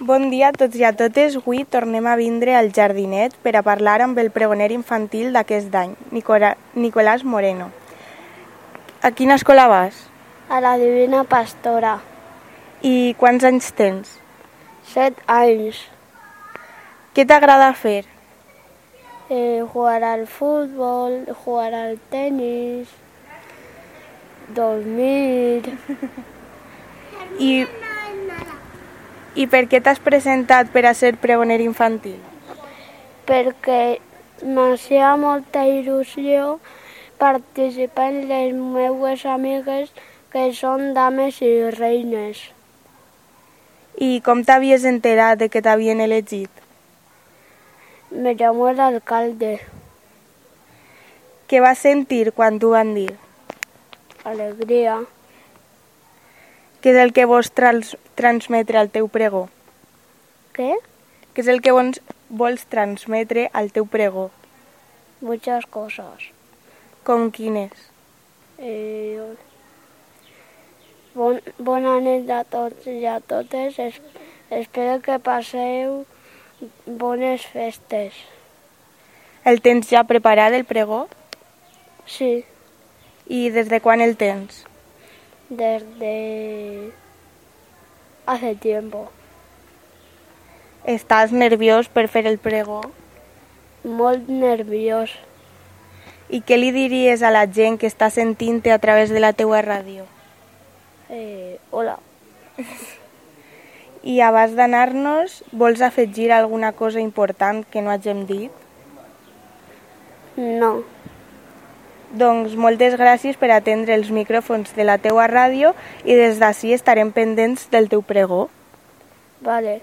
Bon dia a tots i a totes. Avui tornem a vindre al jardinet per a parlar amb el pregoner infantil d'aquest any, Nicola, Nicolás Moreno. A quina escola vas? A la Divina Pastora. I quants anys tens? Set anys. Què t'agrada fer? Eh, jugar al fútbol, jugar al tenis, dormir. I, i per què t'has presentat per a ser pregoner infantil? perquè m'hacía molta il·lusió participar en les meues amigues que són dames i reines. I com t'havies enterat de que t'havien elegit? Me llamó el alcalde. Què vas sentir quan t'ho van dir? Alegría. Què és el que vols trans transmetre al teu pregó? ¿Qué? Què és el que vols, vols transmetre al teu pregó? Muchas cosas. Com quines? Eh, bon, bona nit a tots i a totes. Es, espero que passeu bones festes. El tens ja preparat, el pregó? Sí, I des de quan el tens? desde hace tiempo. Estàs nerviós per fer el pregó? Molt nerviós. I què li diries a la gent que està sentint-te a través de la teua ràdio? Eh, hola. I abans d'anar-nos, vols afegir alguna cosa important que no hagem dit? No. Doncs moltes gràcies per atendre els micròfons de la teua ràdio i des d'ací estarem pendents del teu pregó. Vale.